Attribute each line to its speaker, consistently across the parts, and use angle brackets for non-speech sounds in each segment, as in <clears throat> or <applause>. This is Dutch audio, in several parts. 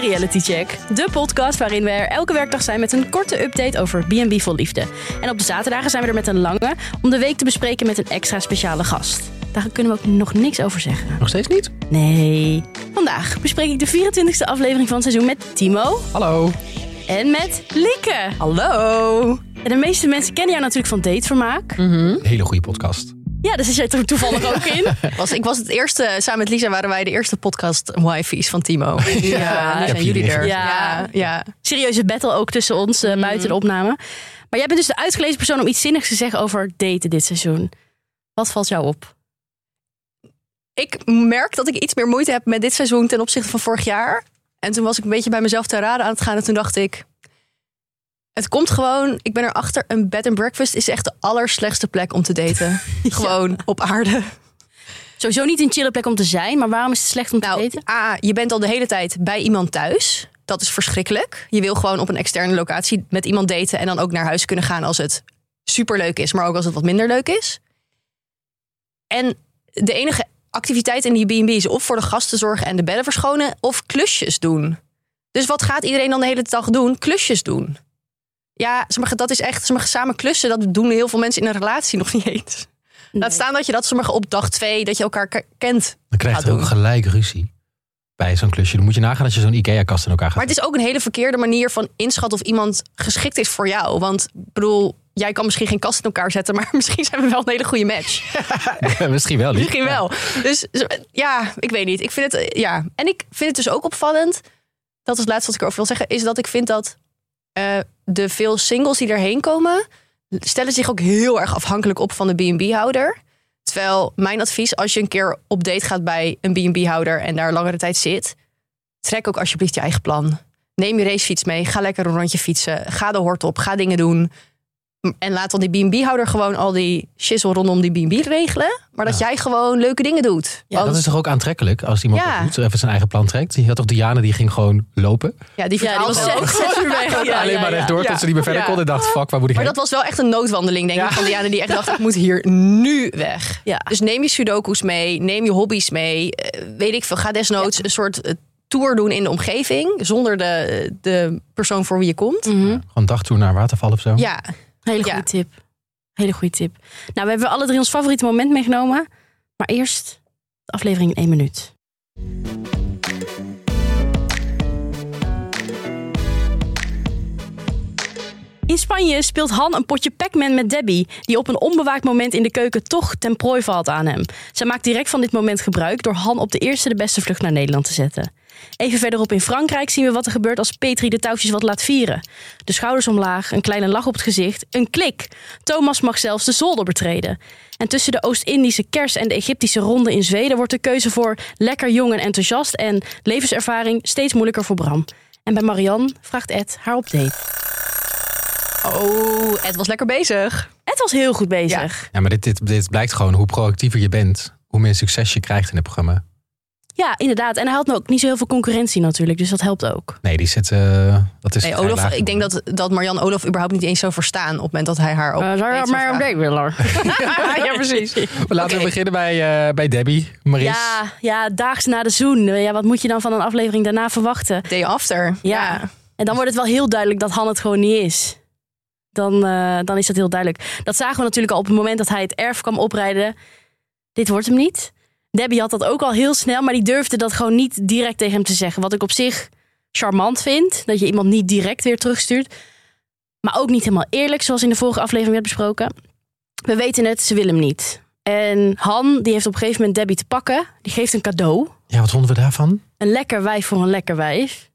Speaker 1: Reality Check. De podcast waarin we er elke werkdag zijn met een korte update over B&B vol liefde. En op de zaterdagen zijn we er met een lange om de week te bespreken met een extra speciale gast. Daar kunnen we ook nog niks over zeggen.
Speaker 2: Nog steeds niet?
Speaker 1: Nee. Vandaag bespreek ik de 24e aflevering van het seizoen met Timo
Speaker 2: Hallo.
Speaker 3: Hm?
Speaker 1: en met Lieke.
Speaker 2: Hallo.
Speaker 1: En de meeste mensen kennen jou natuurlijk van datevermaak.
Speaker 2: Hele goede podcast.
Speaker 1: Ja, daar zit jij er toevallig ook in.
Speaker 3: <laughs> Was, ik was het eerste, samen met Lisa waren wij de eerste podcast wifi's van Timo. Ja, nu
Speaker 2: heb
Speaker 3: zijn
Speaker 2: je
Speaker 3: jullie
Speaker 2: niet
Speaker 3: er.
Speaker 1: gezien.
Speaker 3: Ja, ja.
Speaker 1: serieuze battle ook tussen ons eh, buiten de opname. Maar jij bent dus de uitgelezen persoon om iets zinnigs te zeggen over daten dit seizoen. Wat valt jou op?
Speaker 3: Ik merk dat ik iets meer moeite heb met dit seizoen ten opzichte van vorig jaar. En toen was ik een beetje bij mezelf te raden aan het gaan. En toen dacht ik, het komt gewoon, ik ben erachter, een bed and breakfast is echt de allerslechtste plek om te
Speaker 2: <laughs>
Speaker 3: daten. Gewoon op aarde.
Speaker 1: Sowieso niet een chille plek om te zijn, maar waarom is het slecht om te
Speaker 3: Nou,
Speaker 1: daten?
Speaker 3: A, je bent al de hele tijd bij iemand thuis. Dat is verschrikkelijk. Je wil gewoon op een externe locatie met iemand daten en dan ook naar huis kunnen gaan als het superleuk is, maar ook als het wat minder leuk is. En de enige activiteit in die B&B is of voor de gasten zorgen en de bedden verschonen of klusjes doen. Dus wat gaat iedereen dan de hele dag doen? Klusjes doen. Ja, zeg maar, dat is echt zeg maar, samen klussen. Dat doen heel veel mensen in een relatie <laughs> nog niet eens. Laat staan dat je dat zeg maar, op dag twee, dat je elkaar ke- kent,
Speaker 2: Dan krijg je
Speaker 3: Gaat
Speaker 2: ook
Speaker 3: doen.
Speaker 2: gelijk ruzie bij zo'n klusje. Dan moet je nagaan dat je zo'n Ikea-kast in elkaar gaat.
Speaker 3: Maar het is ook een hele verkeerde manier van inschatten of iemand geschikt is voor jou. Want ik bedoel, jij kan misschien geen kast in elkaar zetten, maar <laughs> misschien zijn we wel een hele goede
Speaker 2: <laughs>
Speaker 3: match.
Speaker 2: Misschien wel, lief.
Speaker 3: Misschien wel. Dus ja, ik weet niet. Ik vind het, eh, ja. En ik vind het dus ook opvallend, dat is het laatste wat ik erover wil zeggen, is dat ik vind dat eh, de veel singles die erheen komen, stellen zich ook heel erg afhankelijk op van de B&B-houder. Terwijl mijn advies, als je een keer op date gaat bij een B&B-houder en daar langere tijd zit, trek ook alsjeblieft je eigen plan. Neem je racefiets mee, ga lekker een rondje fietsen, ga de hort op, ga dingen doen. M- En laat dan die B&B-houder gewoon al die shizzle rondom die B&B regelen. Maar dat jij gewoon leuke dingen doet.
Speaker 1: Ja,
Speaker 3: Want-
Speaker 2: Dat is toch ook aantrekkelijk als iemand
Speaker 3: Ja.
Speaker 2: dat doet, even zijn eigen plan trekt. Je had toch Diana die ging gewoon lopen.
Speaker 3: ja, die
Speaker 1: Ja, die
Speaker 3: verhaalt
Speaker 1: was
Speaker 3: wel.
Speaker 1: zes,
Speaker 3: <laughs>
Speaker 1: zes uur weg. Ja,
Speaker 2: Alleen
Speaker 1: ja,
Speaker 2: maar
Speaker 1: ja.
Speaker 2: rechtdoor
Speaker 3: Ja.
Speaker 2: tot ze niet meer verder
Speaker 3: Ja.
Speaker 2: kon. En dacht, fuck, waar moet ik
Speaker 3: Maar
Speaker 2: heen?
Speaker 3: dat was wel echt een noodwandeling, denk ik. Van Diana die echt dacht, ik moet <laughs> hier nu weg.
Speaker 1: Ja.
Speaker 3: Dus neem je sudoku's mee, neem je hobby's mee. eh, weet ik veel, ga desnoods een soort eh, tour doen in de omgeving. Zonder de, de persoon voor wie je komt.
Speaker 2: Gewoon dagtour naar een waterval of zo.
Speaker 3: Ja,
Speaker 1: Hele goede
Speaker 3: Ja.
Speaker 1: tip. Hele goede tip. Nou, we hebben alle drie ons favoriete moment meegenomen. Maar eerst de aflevering in één minuut. In Spanje speelt Han een potje Pac-Man met Debbie, die op een onbewaakt moment in de keuken toch ten prooi valt aan hem. Zij maakt direct van dit moment gebruik door Han op de eerste de beste vlucht naar Nederland te zetten. Even verderop in Frankrijk zien we wat er gebeurt als Petri de touwtjes wat laat vieren. De schouders omlaag, een kleine lach op het gezicht, een klik. Thomas mag zelfs de zolder betreden. En tussen de Oost-Indische kers en de Egyptische ronde in Zweden wordt de keuze voor lekker jong en enthousiast en levenservaring steeds moeilijker voor Bram. En bij Marianne vraagt Ed haar op date.
Speaker 3: Oh, Ed was lekker bezig.
Speaker 1: Ed was heel goed bezig.
Speaker 2: Ja, maar dit, dit, dit blijkt gewoon hoe proactiever je bent, hoe meer succes je krijgt in het programma.
Speaker 1: Ja, inderdaad. En hij had nou ook niet zo heel veel concurrentie natuurlijk, dus dat helpt ook.
Speaker 2: Nee, die zit... eh, dat is
Speaker 3: Nee,
Speaker 2: vrij
Speaker 3: Olaf,
Speaker 2: laag.
Speaker 3: ik denk dat, dat Marianne Olaf überhaupt niet eens zou verstaan... op het moment dat hij haar <laughs> op
Speaker 1: Eh, zou
Speaker 3: date zou vragen.
Speaker 1: Oh, <laughs> ja, <laughs> precies.
Speaker 2: Maar Laten we beginnen bij, eh, bij Debbie, Maris.
Speaker 1: Ja, ja, daags na de zoen. Ja, wat moet je dan van een aflevering daarna verwachten?
Speaker 3: <laughs> Day after.
Speaker 1: Ja. En dan wordt het wel heel duidelijk dat Han het gewoon niet is. Dan, eh, dan is dat heel duidelijk. Dat zagen we natuurlijk al op het moment dat hij het erf kwam oprijden. Dit wordt hem niet. Debbie had dat ook al heel snel, maar die durfde dat gewoon niet direct tegen hem te zeggen. Wat ik op zich charmant vind, dat je iemand niet direct weer terugstuurt. Maar ook niet helemaal eerlijk, zoals in de vorige aflevering werd besproken. We weten het, ze wil hem niet. En Han, die heeft op een gegeven moment Debbie te pakken. Die geeft een cadeau.
Speaker 2: Ja, wat vonden we daarvan?
Speaker 1: Een lekker wijf voor een lekker wijf.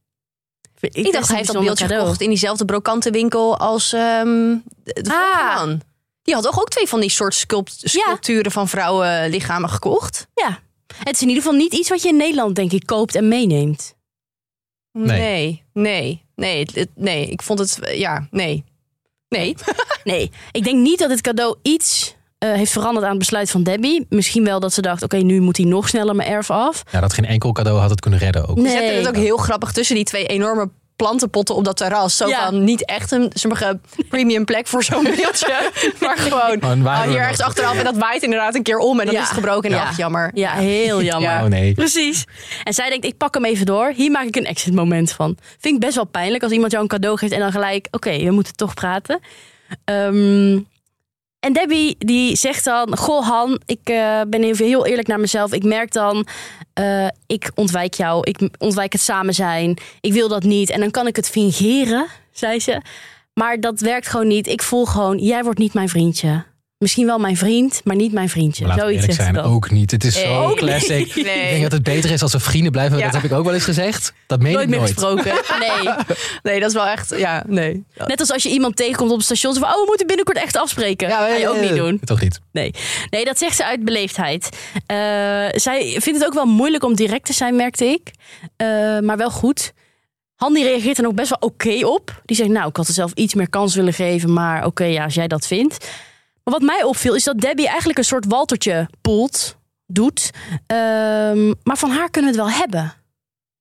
Speaker 1: Vind
Speaker 3: Ik,
Speaker 1: best
Speaker 3: dacht,
Speaker 1: een
Speaker 3: hij heeft dat
Speaker 1: bijzonder
Speaker 3: beeldje
Speaker 1: cadeau.
Speaker 3: gekocht in diezelfde brokantenwinkel als ehm, de, de
Speaker 1: Ah.
Speaker 3: vorige man. Die had toch ook twee van die soort sculpt- sculpturen van vrouwenlichamen gekocht?
Speaker 1: Ja. Het is in ieder geval niet iets wat je in Nederland, denk ik, koopt en
Speaker 3: <laughs>
Speaker 1: meeneemt.
Speaker 2: Nee.
Speaker 3: nee, nee, nee, het- het- nee. Ik vond het, eh, ja,
Speaker 1: <laughs>
Speaker 3: nee. Nee,
Speaker 1: Nee, ik denk niet dat het cadeau iets eh, heeft veranderd aan het besluit van Debbie. Misschien wel dat ze dacht, oké, nu moet hij nog sneller mijn erf af.
Speaker 2: Ja, dat geen enkel cadeau had het kunnen redden ook.
Speaker 1: Nee.
Speaker 3: ze zetten het ook heel grappig tussen die twee enorme plantenpotten op dat terras. Zo
Speaker 1: Ja.
Speaker 3: van niet echt een sommige premium plek
Speaker 1: <laughs>
Speaker 3: voor zo'n beeldje. maar gewoon
Speaker 2: Gewoon
Speaker 1: Oh,
Speaker 2: waar
Speaker 3: ah,
Speaker 2: we
Speaker 3: hier
Speaker 2: nog-
Speaker 3: ergens achteraf. En dat waait inderdaad een keer om. En dan
Speaker 1: Ja.
Speaker 3: is het gebroken. En
Speaker 2: Ja.
Speaker 3: ach, jammer.
Speaker 1: Ja, heel jammer.
Speaker 2: Oh nee.
Speaker 1: Precies. En zij denkt, ik pak hem even door. Hier maak ik een exit moment van. Vind ik best wel pijnlijk als iemand jou een cadeau geeft en dan gelijk, oké, we moeten toch praten. Ehm, en Debbie die zegt dan, goh Han, ik eh, ben even heel eerlijk naar mezelf. Ik merk dan, eh, ik ontwijk jou, ik ontwijk het samen zijn. Ik wil dat niet en dan kan ik het fingeren, zei ze. Maar dat werkt gewoon niet. Ik voel gewoon, jij wordt niet mijn vriendje. Misschien wel mijn vriend, maar niet mijn vriendje.
Speaker 2: Maar laten we
Speaker 1: Zoiets
Speaker 2: eerlijk
Speaker 1: zegt ze
Speaker 2: zijn,
Speaker 1: dan.
Speaker 2: ook niet. Het is
Speaker 3: Ook
Speaker 2: zo
Speaker 3: niet.
Speaker 1: <laughs>
Speaker 2: classic.
Speaker 3: Nee.
Speaker 2: Ik denk dat het beter is als we vrienden blijven.
Speaker 3: Ja.
Speaker 2: Dat heb ik ook wel eens gezegd. Dat meen
Speaker 1: Nooit
Speaker 2: ik
Speaker 1: meer
Speaker 2: nooit.
Speaker 1: gesproken.
Speaker 2: <laughs>
Speaker 1: Nee.
Speaker 3: Nee, dat is wel echt. eh, Ja, nee.
Speaker 1: Net als als je iemand tegenkomt op het station. Zo van, oh, we moeten binnenkort echt afspreken.
Speaker 2: Ja, eh,
Speaker 1: Ja, Ga je
Speaker 3: eh,
Speaker 1: ook niet doen.
Speaker 2: Toch niet.
Speaker 1: Nee. nee, dat zegt ze uit beleefdheid. Eh, zij vindt het ook wel moeilijk om direct te zijn, merkte ik. Eh, maar wel goed. Han die reageert dan ook best wel oké op. Die zegt, nou, ik had er zelf iets meer kans willen geven. Maar oké, ja, als jij dat vindt. Maar wat mij opviel is dat Debbie eigenlijk een soort waltertje poelt, doet. Ehm, maar van haar kunnen we het wel hebben.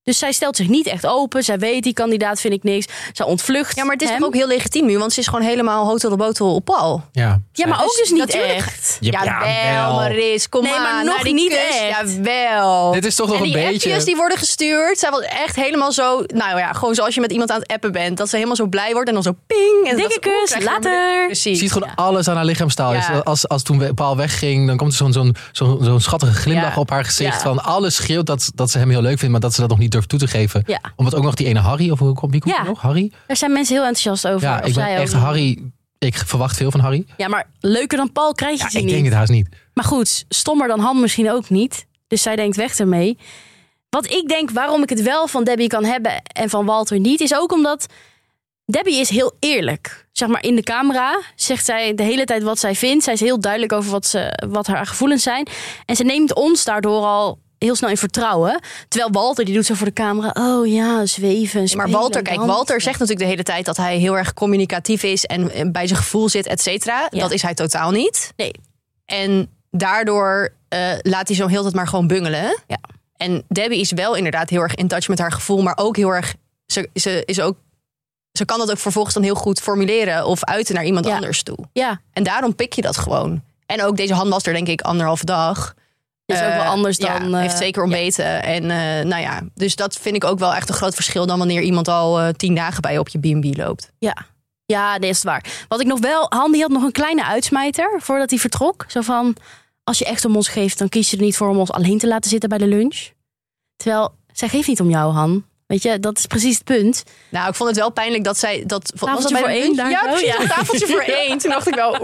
Speaker 1: Dus zij stelt zich niet echt open. Zij weet, die kandidaat vind ik niks. Zij ontvlucht
Speaker 3: Ja, maar het is
Speaker 1: hem.
Speaker 3: toch ook heel legitiem nu. Want ze is gewoon helemaal hotel de botel op pal.
Speaker 2: Ja,
Speaker 1: Ja, maar ook
Speaker 3: Dus
Speaker 1: dus niet
Speaker 3: natuurlijk-
Speaker 1: echt.
Speaker 2: Ja,
Speaker 3: Jawel,
Speaker 2: wel.
Speaker 3: Maris. Kom
Speaker 1: Nee,
Speaker 3: aan.
Speaker 1: maar
Speaker 3: naar
Speaker 1: nog
Speaker 3: die
Speaker 1: niet
Speaker 3: kus.
Speaker 1: echt.
Speaker 3: Jawel.
Speaker 2: Dit is toch nog
Speaker 3: en
Speaker 2: een
Speaker 3: die
Speaker 2: beetje-
Speaker 3: appjes die worden gestuurd. Zij was echt helemaal zo... Nou ja, gewoon zoals je met iemand aan het appen bent. Dat ze helemaal zo blij wordt en dan zo ping. En
Speaker 1: Dikke
Speaker 3: dat, ze- oeh,
Speaker 1: kus,
Speaker 3: krijg je weer een
Speaker 1: later.
Speaker 3: bericht.
Speaker 2: Je
Speaker 3: Precies.
Speaker 2: ziet gewoon alles aan haar lichaamstaal.
Speaker 3: Ja.
Speaker 2: Dus als, als toen we- Paul wegging, dan komt er zo'n zo'n zo'n zo'n schattige glimlach
Speaker 3: Ja.
Speaker 2: op haar gezicht.
Speaker 1: Ja.
Speaker 2: Van alles schreeuwt dat, dat ze hem heel leuk vindt, maar dat ze dat nog niet durft toe te geven.
Speaker 1: Ja.
Speaker 2: Omdat ook nog die ene Harry, of hoe komt die komt
Speaker 1: Ja.
Speaker 2: die nog? Harry?
Speaker 1: Daar zijn mensen heel enthousiast over.
Speaker 2: Ja,
Speaker 1: Of
Speaker 2: ik ben
Speaker 1: zij
Speaker 2: echt
Speaker 1: ook.
Speaker 2: Harry. Ik verwacht veel van Harry.
Speaker 1: Ja, maar leuker dan Paul krijg je
Speaker 2: Ja,
Speaker 1: ze
Speaker 2: ik
Speaker 1: niet.
Speaker 2: denk het haast niet.
Speaker 1: Maar goed, stommer dan Han misschien ook niet. Dus zij denkt weg ermee. Wat ik denk waarom ik het wel van Debbie kan hebben en van Walter niet, is ook omdat Debbie is heel eerlijk. Zeg maar in de camera zegt zij de hele tijd wat zij vindt. Zij is heel duidelijk over wat, ze, wat haar gevoelens zijn. En ze neemt ons daardoor al heel snel in vertrouwen. Terwijl Walter, die doet zo voor de camera. Oh ja, zweven,
Speaker 3: Maar
Speaker 1: spelen,
Speaker 3: Walter, kijk,
Speaker 1: dansen.
Speaker 3: Walter zegt natuurlijk de hele tijd dat hij heel erg communicatief is en eh, bij zijn gevoel zit, et cetera.
Speaker 1: Ja.
Speaker 3: Dat is hij totaal niet.
Speaker 1: Nee.
Speaker 3: En daardoor eh, laat hij zo heel dat maar gewoon bungelen.
Speaker 1: Ja.
Speaker 3: En Debbie is wel inderdaad heel erg in touch met haar gevoel, maar ook heel erg. Ze, ze, is ook, ze kan dat ook vervolgens dan heel goed formuleren of uiten naar iemand
Speaker 1: Ja.
Speaker 3: anders toe.
Speaker 1: Ja,
Speaker 3: En daarom pik je dat gewoon. En ook deze hand was er, denk ik, anderhalve dag.
Speaker 1: dat is ook wel
Speaker 3: Eh,
Speaker 1: anders
Speaker 3: ja,
Speaker 1: dan... eh,
Speaker 3: heeft zeker ontbeten. En eh, nou ja, dus dat vind ik ook wel echt een groot verschil dan wanneer iemand al eh, tien dagen bij je op je B&B loopt.
Speaker 1: Ja. Ja, dat is waar. Wat ik nog wel... Han die had nog een kleine uitsmijter voordat hij vertrok. Zo van, als je echt om ons geeft... dan kies je er niet voor om ons alleen te laten zitten bij de lunch. Terwijl, zij geeft niet om jou, Han. Weet je, dat is precies het punt.
Speaker 3: Nou, ik vond het wel pijnlijk dat zij dat was
Speaker 1: Tafeltje
Speaker 3: dat bij de
Speaker 1: voor één
Speaker 3: lunch?
Speaker 1: daar
Speaker 3: Ja,
Speaker 1: zo,
Speaker 3: precies,
Speaker 1: ja.
Speaker 3: een tafeltje
Speaker 1: <laughs>
Speaker 3: voor één. Toen dacht ik wel,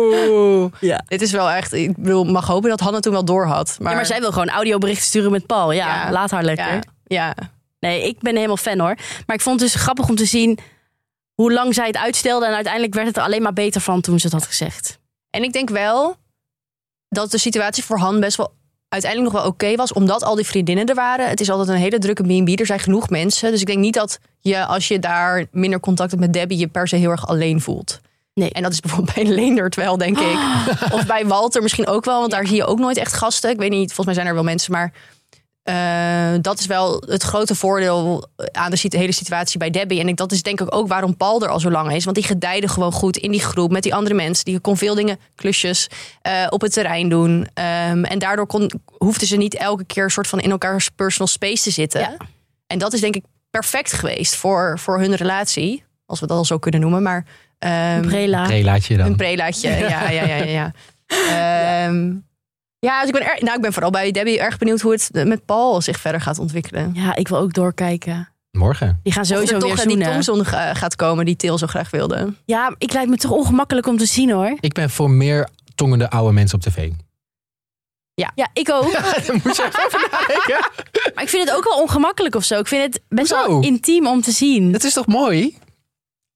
Speaker 3: oeh.
Speaker 1: Ja.
Speaker 3: Dit is wel echt. Ik bedoel, mag hopen dat Hanna toen wel door had. Maar,
Speaker 1: Maar, zij wil gewoon audioberichten sturen met Paul. Ja,
Speaker 3: Ja.
Speaker 1: laat haar lekker.
Speaker 3: ja, ja,
Speaker 1: Nee, ik ben helemaal fan hoor. Maar ik vond het dus grappig om te zien... hoe lang zij het uitstelde. En uiteindelijk werd het er alleen maar beter van toen ze het had gezegd.
Speaker 3: En ik denk wel dat de situatie voor Han best wel uiteindelijk nog wel oké was, omdat al die vriendinnen er waren. Het is altijd een hele drukke B&B, er zijn genoeg mensen. Dus ik denk niet dat je, als je daar minder contact hebt met Debbie, je per se heel erg alleen voelt.
Speaker 1: Nee.
Speaker 3: En dat is bijvoorbeeld bij Leendert wel, denk ik. Of bij Walter misschien ook wel, want daar zie je ook nooit echt gasten. Ik weet niet, volgens mij zijn er wel mensen, maar eh, dat is wel het grote voordeel aan de sit- hele situatie bij Debbie. En ik, dat is denk ik ook waarom Paul er al zo lang is. Want die gedijde gewoon goed in die groep met die andere mensen. Die kon veel dingen, klusjes, eh, op het terrein doen. Ehm, en daardoor kon, hoefden ze niet elke keer een soort van in elkaars personal space te zitten.
Speaker 1: Ja.
Speaker 3: En dat is denk ik perfect geweest voor, voor hun relatie. Als we dat al zo kunnen noemen. Maar ehm,
Speaker 1: Brela.
Speaker 2: Relaatje dan.
Speaker 3: een prelaatje. <laughs> Ja, ja, ja, ja. ja. Ehm, ja, dus ik ben, erg, nou, ik ben vooral bij Debbie erg benieuwd hoe het met Paul zich verder gaat ontwikkelen.
Speaker 1: Ja, ik wil ook doorkijken.
Speaker 2: Morgen.
Speaker 1: Die gaan
Speaker 3: Of
Speaker 1: sowieso
Speaker 3: er
Speaker 1: weer
Speaker 3: toch eh, die
Speaker 1: zoenen.
Speaker 3: Tomson eh, gaat komen die Til zo graag wilde.
Speaker 1: Ja, ik lijkt me toch ongemakkelijk om te zien hoor.
Speaker 2: Ik ben voor meer tongende oude mensen op tv.
Speaker 1: Ja, <laughs> ik
Speaker 2: <laughs>
Speaker 1: ook.
Speaker 2: Daar moet je even over nadenken.
Speaker 1: Maar ik vind het ook wel ongemakkelijk of zo. Ik vind het best
Speaker 2: Hoezo?
Speaker 1: wel intiem om te zien.
Speaker 2: Dat is toch mooi?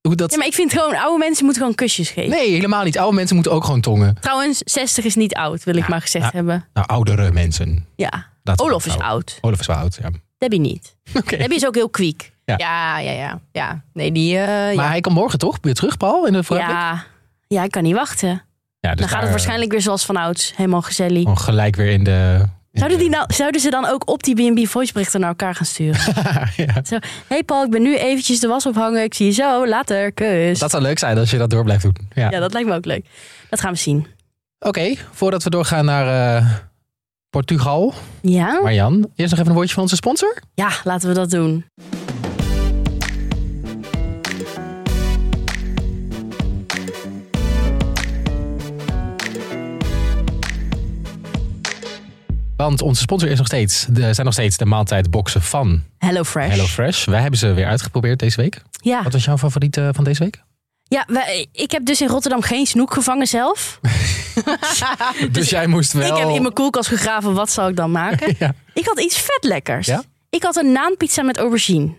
Speaker 2: Hoe dat...
Speaker 1: Ja, maar ik vind gewoon, oude mensen moeten gewoon kusjes geven.
Speaker 2: Nee, helemaal niet. Oude mensen moeten ook gewoon tongen.
Speaker 1: Trouwens, 60 is niet oud, wil ik
Speaker 2: Ja,
Speaker 1: maar gezegd
Speaker 2: ja.
Speaker 1: hebben.
Speaker 2: Nou, oudere mensen.
Speaker 1: Ja.
Speaker 2: Laten we
Speaker 1: Olaf
Speaker 2: dat
Speaker 1: is
Speaker 2: houden.
Speaker 1: oud.
Speaker 2: Olaf is wel oud, ja.
Speaker 1: Debbie niet.
Speaker 2: Oké.
Speaker 1: Debbie is ook heel kwiek.
Speaker 3: Ja, ja, ja. ja. Nee, die... eh,
Speaker 2: Maar
Speaker 3: ja.
Speaker 2: hij kan morgen toch weer terug, Paul? In de vooruitblik?
Speaker 1: Ja. ja, ik kan niet wachten.
Speaker 2: Ja,
Speaker 1: Dan
Speaker 2: dus
Speaker 1: gaat
Speaker 2: daar, Oh,
Speaker 1: het waarschijnlijk weer zoals vanouds. Helemaal gezellig.
Speaker 2: eh, gewoon gelijk weer in de
Speaker 1: Zouden, die nou, zouden ze dan ook op die B&B voiceberichten naar elkaar gaan sturen?
Speaker 2: <laughs> ja.
Speaker 1: Zo, hey Paul, ik ben nu eventjes de was ophangen. Ik zie je zo, later, kus.
Speaker 2: Dat zou leuk zijn als je dat door blijft doen. Ja.
Speaker 1: Ja, dat lijkt me ook leuk. Dat gaan we zien.
Speaker 2: Oké, voordat we doorgaan naar eh, Portugal.
Speaker 1: Hm. Ja?
Speaker 2: Marjan, eerst nog even een woordje van onze sponsor.
Speaker 1: Ja, laten we dat doen.
Speaker 2: Want onze sponsor is nog steeds, de, zijn nog steeds de maaltijdboxen van
Speaker 1: Hello Fresh.
Speaker 2: HelloFresh. Wij hebben ze weer uitgeprobeerd deze week.
Speaker 1: Ja,
Speaker 2: Wat was jouw favoriet eh, van deze week?
Speaker 1: ja wij- ik heb dus in Rotterdam geen snoek gevangen zelf.
Speaker 2: <laughs> Dus, jij moest wel...
Speaker 1: Ik heb in mijn koelkast gegraven, wat zou ik dan maken?
Speaker 2: <laughs> Ja.
Speaker 1: Ik had iets vet lekkers.
Speaker 2: Ja?
Speaker 1: Ik had een naanpizza met aubergine.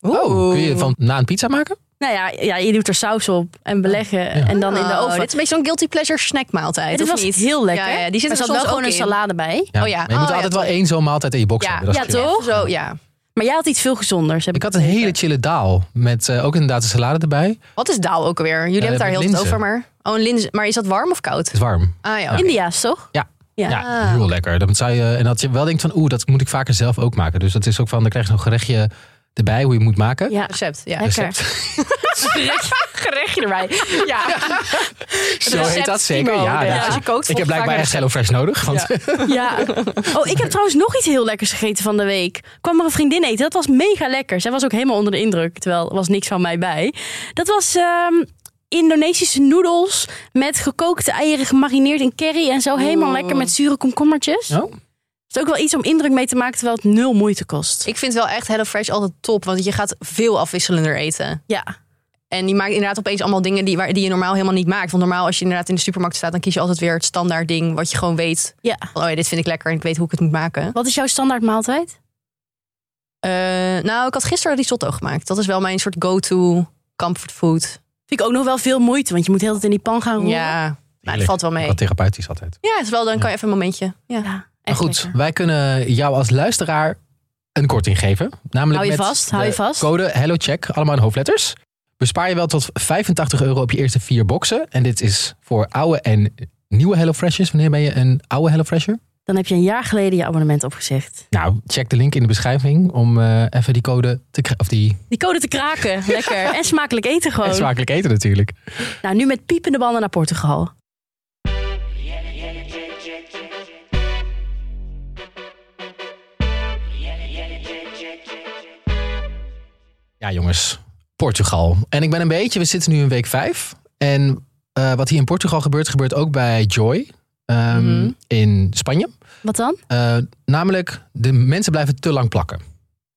Speaker 2: Oh, kun je van na een pizza maken?
Speaker 1: Nou ja, ja, je doet er saus op en beleggen en dan in de
Speaker 3: Oh,
Speaker 1: oven.
Speaker 3: Dit is een beetje zo'n guilty pleasure snackmaaltijd.
Speaker 1: Het
Speaker 3: of
Speaker 1: was
Speaker 3: niet?
Speaker 1: heel lekker.
Speaker 3: Ja, ja, die
Speaker 1: er
Speaker 3: zit er
Speaker 1: zat
Speaker 3: soms
Speaker 1: wel gewoon
Speaker 3: ook
Speaker 1: een
Speaker 3: in.
Speaker 1: salade bij.
Speaker 3: Oh ja.
Speaker 2: maar je moet
Speaker 3: Oh ja,
Speaker 2: altijd wel één zo'n maaltijd in je box
Speaker 3: Ja.
Speaker 2: hebben. Dat is
Speaker 1: Ja,
Speaker 2: chill.
Speaker 1: toch?
Speaker 3: Even Zo, ja.
Speaker 1: Maar jij had iets veel gezonders. Heb
Speaker 2: Ik had een hele chille daal. Met eh, ook inderdaad een salade erbij. Het
Speaker 3: Wat is daal ook alweer? Jullie
Speaker 2: Ja,
Speaker 3: hebben het daar heel veel
Speaker 2: Eh, linzen.
Speaker 3: over, maar... Oh, een linzen. Maar is dat warm of koud?
Speaker 2: is warm.
Speaker 3: Ah ja, oké.
Speaker 1: India's, toch?
Speaker 2: Ja.
Speaker 1: Ja.
Speaker 2: Ja, heel lekker. Dan zou je, en dat je wel denkt van, oeh, dat moet ik vaker zelf ook maken. Dus dat is ook van, dan krijg je zo'n gerechtje erbij hoe je het moet maken.
Speaker 1: Ja,
Speaker 3: Recept, ja.
Speaker 1: lekker. <laughs> Gerechtje erbij. Ja.
Speaker 2: Zo heet dat zeker.
Speaker 1: Timo,
Speaker 2: Ja,
Speaker 1: ja.
Speaker 2: dat-
Speaker 1: Als je
Speaker 2: <laughs>
Speaker 3: kookt,
Speaker 2: ik heb blijkbaar echt HelloFresh nodig. Want
Speaker 1: ja. Oh, ik heb trouwens nog iets heel lekkers gegeten van de week. Kwam er een vriendin eten. Dat was mega lekker. Zij was ook helemaal onder de indruk. Terwijl er was niks van mij bij. Dat was ehm, Indonesische noedels met gekookte eieren gemarineerd in curry. En zo helemaal
Speaker 3: Oeh.
Speaker 1: lekker met zure komkommertjes.
Speaker 2: <laughs> Oh.
Speaker 1: Het is ook wel iets om indruk mee te maken terwijl het nul moeite kost.
Speaker 3: Ik vind wel echt HelloFresh altijd top, want je gaat veel afwisselender eten.
Speaker 1: Ja.
Speaker 3: En die maakt inderdaad opeens allemaal dingen die, waar, die je normaal helemaal niet maakt. Want normaal als je inderdaad in de supermarkt staat, dan kies je altijd weer het standaard ding wat je gewoon weet.
Speaker 1: ja.
Speaker 3: Van, oh ja, dit vind ik lekker en ik weet hoe ik het moet maken.
Speaker 1: Wat is jouw standaard maaltijd?
Speaker 3: Eh, nou, ik had gisteren risotto gemaakt. Dat is wel mijn soort go-to comfort food.
Speaker 1: Vind ik ook nog wel veel moeite, want je moet heel tijd in die pan gaan roeren.
Speaker 3: Ja, maar het
Speaker 2: Heerlijk.
Speaker 3: valt wel mee.
Speaker 2: Wat therapeutisch altijd.
Speaker 3: Ja, het is wel, dan kan je even een momentje. Ja.
Speaker 1: Ja,
Speaker 2: Maar
Speaker 1: echt
Speaker 2: goed,
Speaker 1: lekker.
Speaker 2: wij kunnen jou als luisteraar een korting geven. Namelijk
Speaker 1: Hou je
Speaker 2: met
Speaker 1: vast, hou je
Speaker 2: de
Speaker 1: vast.
Speaker 2: code HelloCheck, allemaal in hoofdletters. Bespaar je wel tot 85 euro op je eerste vier boxen. En dit is voor oude en nieuwe HelloFreshers. Wanneer ben je een oude HelloFresher?
Speaker 1: Dan heb je een jaar geleden je abonnement opgezegd.
Speaker 2: Nou, check de link in de beschrijving om eh, even die code te krijgen. Of die
Speaker 1: Die code te
Speaker 3: <laughs>
Speaker 1: kraken, lekker. <laughs> En smakelijk eten gewoon.
Speaker 2: en smakelijk eten natuurlijk.
Speaker 1: Nou, nu met piepende banden naar Portugal.
Speaker 2: Ja, jongens, Portugal. En ik ben een beetje, we zitten nu in week vijf. En eh, wat hier in Portugal gebeurt, gebeurt ook bij Joy ehm,
Speaker 3: Mhm.
Speaker 2: in Spanje.
Speaker 1: Wat dan?
Speaker 2: Eh, namelijk, de mensen blijven te lang plakken.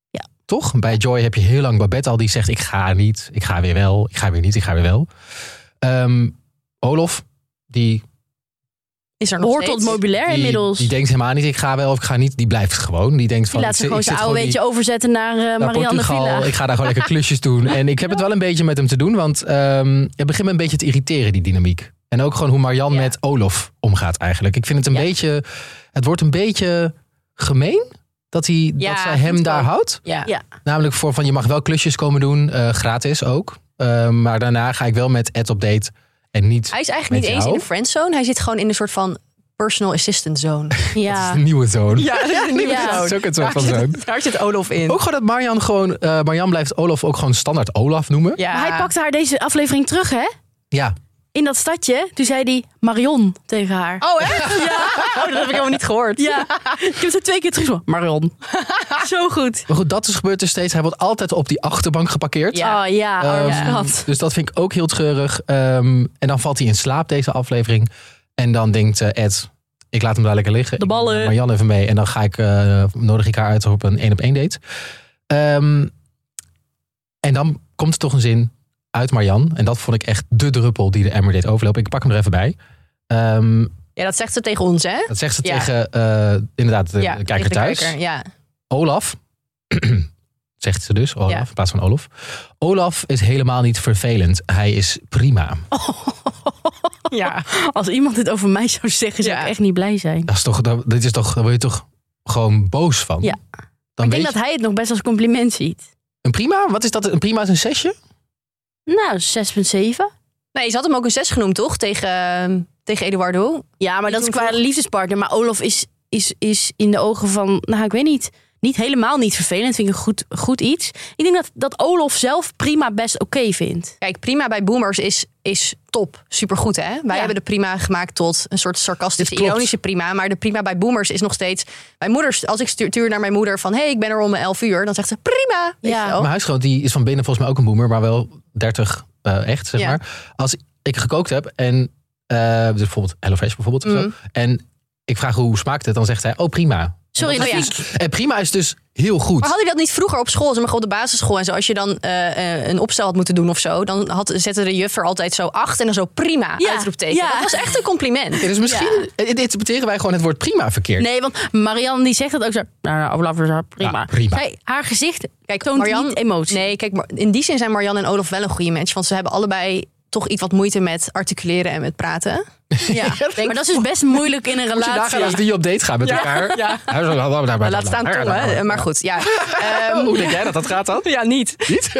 Speaker 1: Ja.
Speaker 2: Toch? Bij Joy heb je heel lang Babette al die zegt: Ik ga niet, ik ga weer wel, ik ga weer niet, ik ga weer wel. Ehm, Olof, die,
Speaker 3: Is er nog
Speaker 1: Hoort tot
Speaker 3: steeds?
Speaker 1: het meubilair
Speaker 2: die,
Speaker 1: inmiddels.
Speaker 2: die
Speaker 1: Die,
Speaker 2: denkt helemaal niet: Ik ga wel of ik ga niet. Die blijft gewoon. Die denkt van:
Speaker 1: laat
Speaker 2: ik
Speaker 1: ze
Speaker 2: zit-
Speaker 1: gewoon
Speaker 2: ik
Speaker 1: zijn
Speaker 2: zit
Speaker 1: oude
Speaker 2: gewoon
Speaker 1: weetje overzetten naar eh,
Speaker 2: naar
Speaker 1: Marianne
Speaker 2: Portugal.
Speaker 1: Villa.
Speaker 2: Ik ga daar gewoon lekker klusjes
Speaker 1: <laughs>
Speaker 2: doen. En ik heb het wel een beetje met hem te doen, want ehm het begint me een beetje te irriteren, die dynamiek. En ook gewoon hoe Marian
Speaker 3: Ja.
Speaker 2: met Olof omgaat eigenlijk. Ik vind het
Speaker 1: Ja.
Speaker 2: een beetje, het wordt een beetje gemeen dat, hij,
Speaker 3: Ja,
Speaker 2: dat zij
Speaker 3: vind
Speaker 2: hem
Speaker 3: ik
Speaker 2: daar
Speaker 3: ook.
Speaker 2: houdt.
Speaker 3: Ja.
Speaker 1: Ja.
Speaker 2: Namelijk voor van je mag wel klusjes komen doen, eh, gratis ook. Eh, maar daarna ga ik wel met Ed op date en niet,
Speaker 1: Ah,
Speaker 3: Hij is
Speaker 2: Met
Speaker 3: eigenlijk niet eens
Speaker 2: jou?
Speaker 3: in de friendzone. Hij zit gewoon in een soort van personal assistant zone.
Speaker 2: dat is
Speaker 1: Ja.
Speaker 2: de nieuwe zoon.
Speaker 3: <laughs> Ja, dat is een nieuwe
Speaker 1: <laughs> Ja.
Speaker 2: <laughs>
Speaker 3: zoon.
Speaker 2: Dat is ook een soort van
Speaker 3: Daar
Speaker 2: zoon.
Speaker 3: zit- Oh, Daar zit Olof in.
Speaker 2: Ook gewoon dat Marian gewoon, eh Marian blijft Olof ook gewoon standaard Olaf noemen.
Speaker 3: ja.
Speaker 1: Maar hij pakte haar deze aflevering terug, hè?
Speaker 2: ja.
Speaker 1: In dat stadje. Toen zei hij Marion tegen haar.
Speaker 3: Oh, hè? Ja. dat heb ik helemaal niet gehoord.
Speaker 1: Ja, <laughs> ik heb ze twee keer terug. Marion.
Speaker 3: <laughs>
Speaker 1: Zo goed.
Speaker 2: Maar goed, dat is gebeurd dus steeds. Hij wordt altijd op die achterbank geparkeerd.
Speaker 3: Ja.
Speaker 1: Oh ja, arme
Speaker 2: Ehm,
Speaker 1: schat.
Speaker 2: Dus dat vind ik ook heel treurig. Ehm, en dan valt hij in slaap deze aflevering. En dan denkt eh, Ed, ik laat hem daar lekker liggen.
Speaker 1: De
Speaker 2: Ik neem
Speaker 1: ballen.
Speaker 2: Marjan even mee. En dan ga ik, eh, nodig ik haar uit op een één op één date. Ehm, en dan komt er toch een zin uit Marjan. En dat vond ik echt de druppel die de emmer deed overlopen. Ik pak hem er even bij. Ehm,
Speaker 3: Ja, dat zegt ze tegen ons, hè?
Speaker 2: dat zegt ze
Speaker 3: Ja.
Speaker 2: tegen eh, inderdaad de
Speaker 3: ja,
Speaker 2: kijker
Speaker 3: tegen de
Speaker 2: thuis.
Speaker 3: kijker, Ja.
Speaker 2: Olaf, <clears throat> zegt ze dus, Olaf,
Speaker 3: Ja.
Speaker 2: in plaats van Olof. Olaf is helemaal niet vervelend. Hij is prima.
Speaker 3: <laughs> ja.
Speaker 1: <laughs> Als iemand dit over mij zou zeggen, zou
Speaker 3: Ja.
Speaker 1: ik echt niet blij zijn.
Speaker 2: Dat is toch, dat, dit is toch, daar word je toch gewoon boos van?
Speaker 1: Ja.
Speaker 2: Dan
Speaker 1: Ik
Speaker 2: weet
Speaker 1: denk
Speaker 2: je,
Speaker 1: dat hij het nog best als compliment ziet.
Speaker 2: Een prima? Wat is dat? Een prima is een zesje?
Speaker 1: Nou, 6,7.
Speaker 3: Nee, ze had hem ook een zes genoemd, toch? ehm, Tegen, tegen Eduardo.
Speaker 1: Ja, maar dat is
Speaker 3: toen
Speaker 1: qua
Speaker 3: vroeg-
Speaker 1: liefdespartner. Maar Olof is is, is in de ogen van, nou ik weet niet, niet helemaal niet vervelend. Vind ik een goed, goed iets. Ik denk dat, dat Olof zelf prima best oké vindt.
Speaker 3: Kijk, prima bij boomers is, is top. Supergoed, hè? Wij
Speaker 1: Ja.
Speaker 3: hebben de prima gemaakt tot een soort sarcastische,
Speaker 2: Dit klopt.
Speaker 3: ironische prima. Maar de prima bij boomers is nog steeds... Mijn moeder, als ik stuur, stuur naar mijn moeder van... hé, hey, ik ben er om 11 uur. Dan zegt ze prima. Weet
Speaker 1: Ja.
Speaker 3: je wel.
Speaker 2: Mijn huisgenoot die is van binnen volgens mij ook een boomer, maar wel 30 eh, echt, zeg
Speaker 3: Ja.
Speaker 2: maar. Als ik gekookt heb en eh, dus bijvoorbeeld HelloFresh bijvoorbeeld of zo,
Speaker 3: Mm.
Speaker 2: en ik vraag hoe smaakt het, dan zegt hij, oh prima.
Speaker 1: Sorry,
Speaker 3: Oh
Speaker 1: dat
Speaker 3: ja.
Speaker 1: vind ik-
Speaker 2: En prima is dus heel goed.
Speaker 3: Maar hadden die dat niet vroeger op school? Zeg maar op de basisschool en zo. Als je dan eh, eh, een opstel had moeten doen of zo... dan had, zette de juf er altijd zo acht en dan zo prima
Speaker 1: Ja.
Speaker 3: uitroepteken.
Speaker 1: Ja.
Speaker 3: Dat was echt een compliment.
Speaker 1: <laughs>
Speaker 2: Ja, dus misschien eh, interpreteren wij gewoon het woord prima verkeerd.
Speaker 1: Nee, want Marianne die zegt dat ook zo. Nou, nou, Olaf, nou, prima.
Speaker 2: Ja, prima.
Speaker 1: Zij, haar gezicht
Speaker 3: Kijk,
Speaker 1: toont
Speaker 3: Marianne-
Speaker 1: niet emotie.
Speaker 3: Nee, kijk, maar in die zin zijn Marianne en Olaf wel een goede match. Want ze hebben allebei toch iets wat moeite met articuleren en met praten. <laughs>
Speaker 1: Ja. maar dat is dus best moeilijk in een
Speaker 2: Moet je
Speaker 1: relatie.
Speaker 2: nagaan als die op date gaan met elkaar. Ja.
Speaker 3: Laat staan tongen, maar goed. Ja.
Speaker 2: <laughs>
Speaker 3: Ehm,
Speaker 2: Hoe denk jij dat dat gaat dan?
Speaker 3: <laughs> ja,
Speaker 2: <laughs>
Speaker 3: niet.
Speaker 2: Niet?
Speaker 3: <laughs>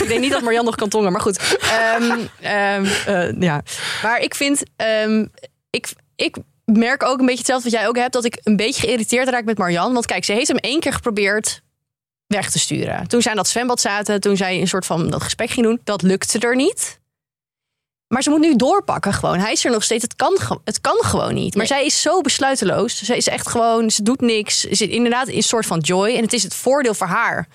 Speaker 3: Ik denk niet dat Marianne nog kan tongen, maar goed. Ehm, ehm, eh, ja. Maar ik vind, ehm, ik, ik merk ook een beetje hetzelfde wat jij ook hebt, dat ik een beetje geïrriteerd raak met Marianne. Want kijk, ze heeft hem één keer geprobeerd weg te sturen. Toen zij in dat zwembad zaten, toen zij een soort van dat gesprek ging doen, dat lukte er niet. Maar ze moet nu doorpakken gewoon. Hij is er nog steeds. Het kan, ge- het kan gewoon niet. Maar
Speaker 1: Nee.
Speaker 3: zij is zo besluiteloos. Ze is echt gewoon, ze doet niks. Ze zit inderdaad in een soort van joy. En het is het voordeel voor haar